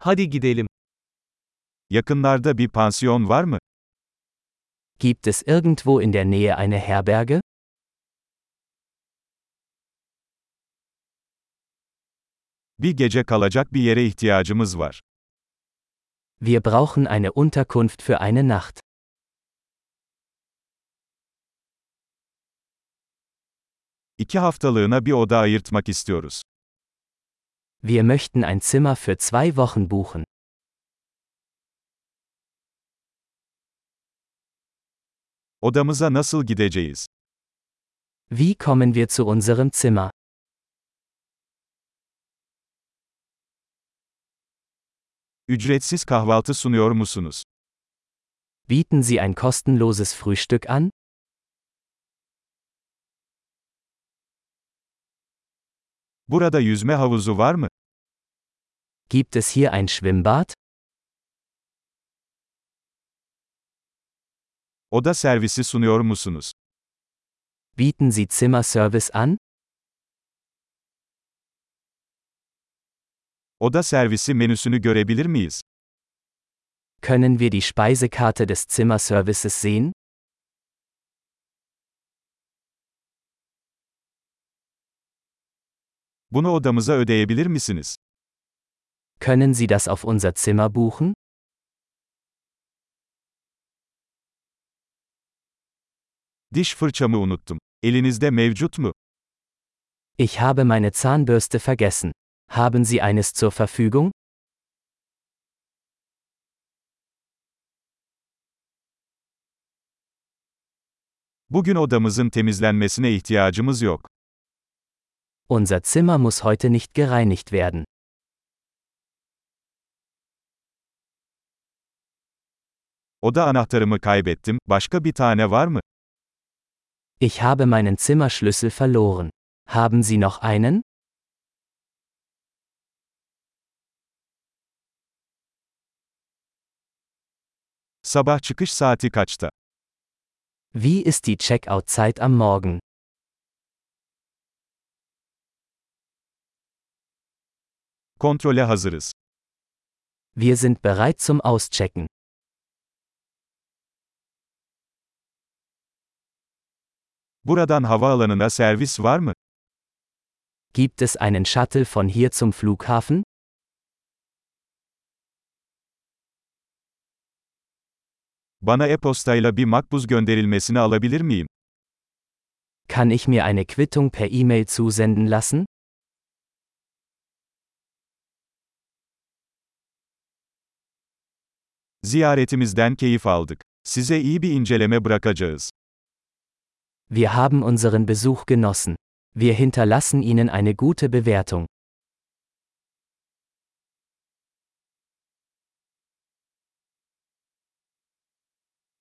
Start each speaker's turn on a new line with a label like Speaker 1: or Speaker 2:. Speaker 1: Hadi gidelim.
Speaker 2: Yakınlarda bir pansiyon var mı?
Speaker 3: Gibt es irgendwo in der Nähe eine Herberge?
Speaker 2: Bir gece kalacak bir yere ihtiyacımız var.
Speaker 3: Wir brauchen eine Unterkunft für eine Nacht.
Speaker 2: İki haftalığına bir oda ayırtmak istiyoruz.
Speaker 3: Wir möchten ein Zimmer für zwei Wochen buchen.
Speaker 2: Odamıza nasıl gideceğiz?
Speaker 3: Wie kommen wir zu unserem Zimmer?
Speaker 2: Ücretsiz kahvaltı sunuyor musunuz?
Speaker 3: Bieten Sie ein kostenloses Frühstück an?
Speaker 2: Burada yüzme havuzu var mı?
Speaker 3: Gibt es hier ein Schwimmbad?
Speaker 2: Oda servisi sunuyor musunuz?
Speaker 3: Bieten Sie Zimmerservice an?
Speaker 2: Oda servisi menüsünü görebilir miyiz?
Speaker 3: Können wir die Speisekarte des Zimmerservices sehen?
Speaker 2: Bunu odamıza ödeyebilir misiniz?
Speaker 3: Können Sie das auf unser Zimmer buchen?
Speaker 2: Diş fırçamı unuttum. Elinizde mevcut mu?
Speaker 3: Ich habe meine Zahnbürste vergessen. Haben Sie eines zur Verfügung?
Speaker 2: Bugün odamızın temizlenmesine ihtiyacımız yok.
Speaker 3: Unser Zimmer muss heute nicht gereinigt werden.
Speaker 2: Oda anahtarımı kaybettim. Başka bir tane var mı?
Speaker 3: Ich habe meinen Zimmerschlüssel verloren. Haben Sie noch einen?
Speaker 2: Sabah çıkış saati kaçta?
Speaker 3: Wie ist die Checkout-Zeit am Morgen?
Speaker 2: Kontrole hazırız.
Speaker 3: Wir sind bereit zum Auschecken.
Speaker 2: Buradan havaalanına servis var mı?
Speaker 3: Gibt es einen Shuttle von hier zum Flughafen?
Speaker 2: Bana e-postayla bir makbuz gönderilmesini alabilir miyim?
Speaker 3: Kann ich mir eine Quittung per E-Mail zusenden lassen?
Speaker 2: Ziyaretimizden keyif aldık. Size iyi bir inceleme bırakacağız.
Speaker 3: Wir haben unseren Besuch genossen. Wir hinterlassen Ihnen eine gute Bewertung.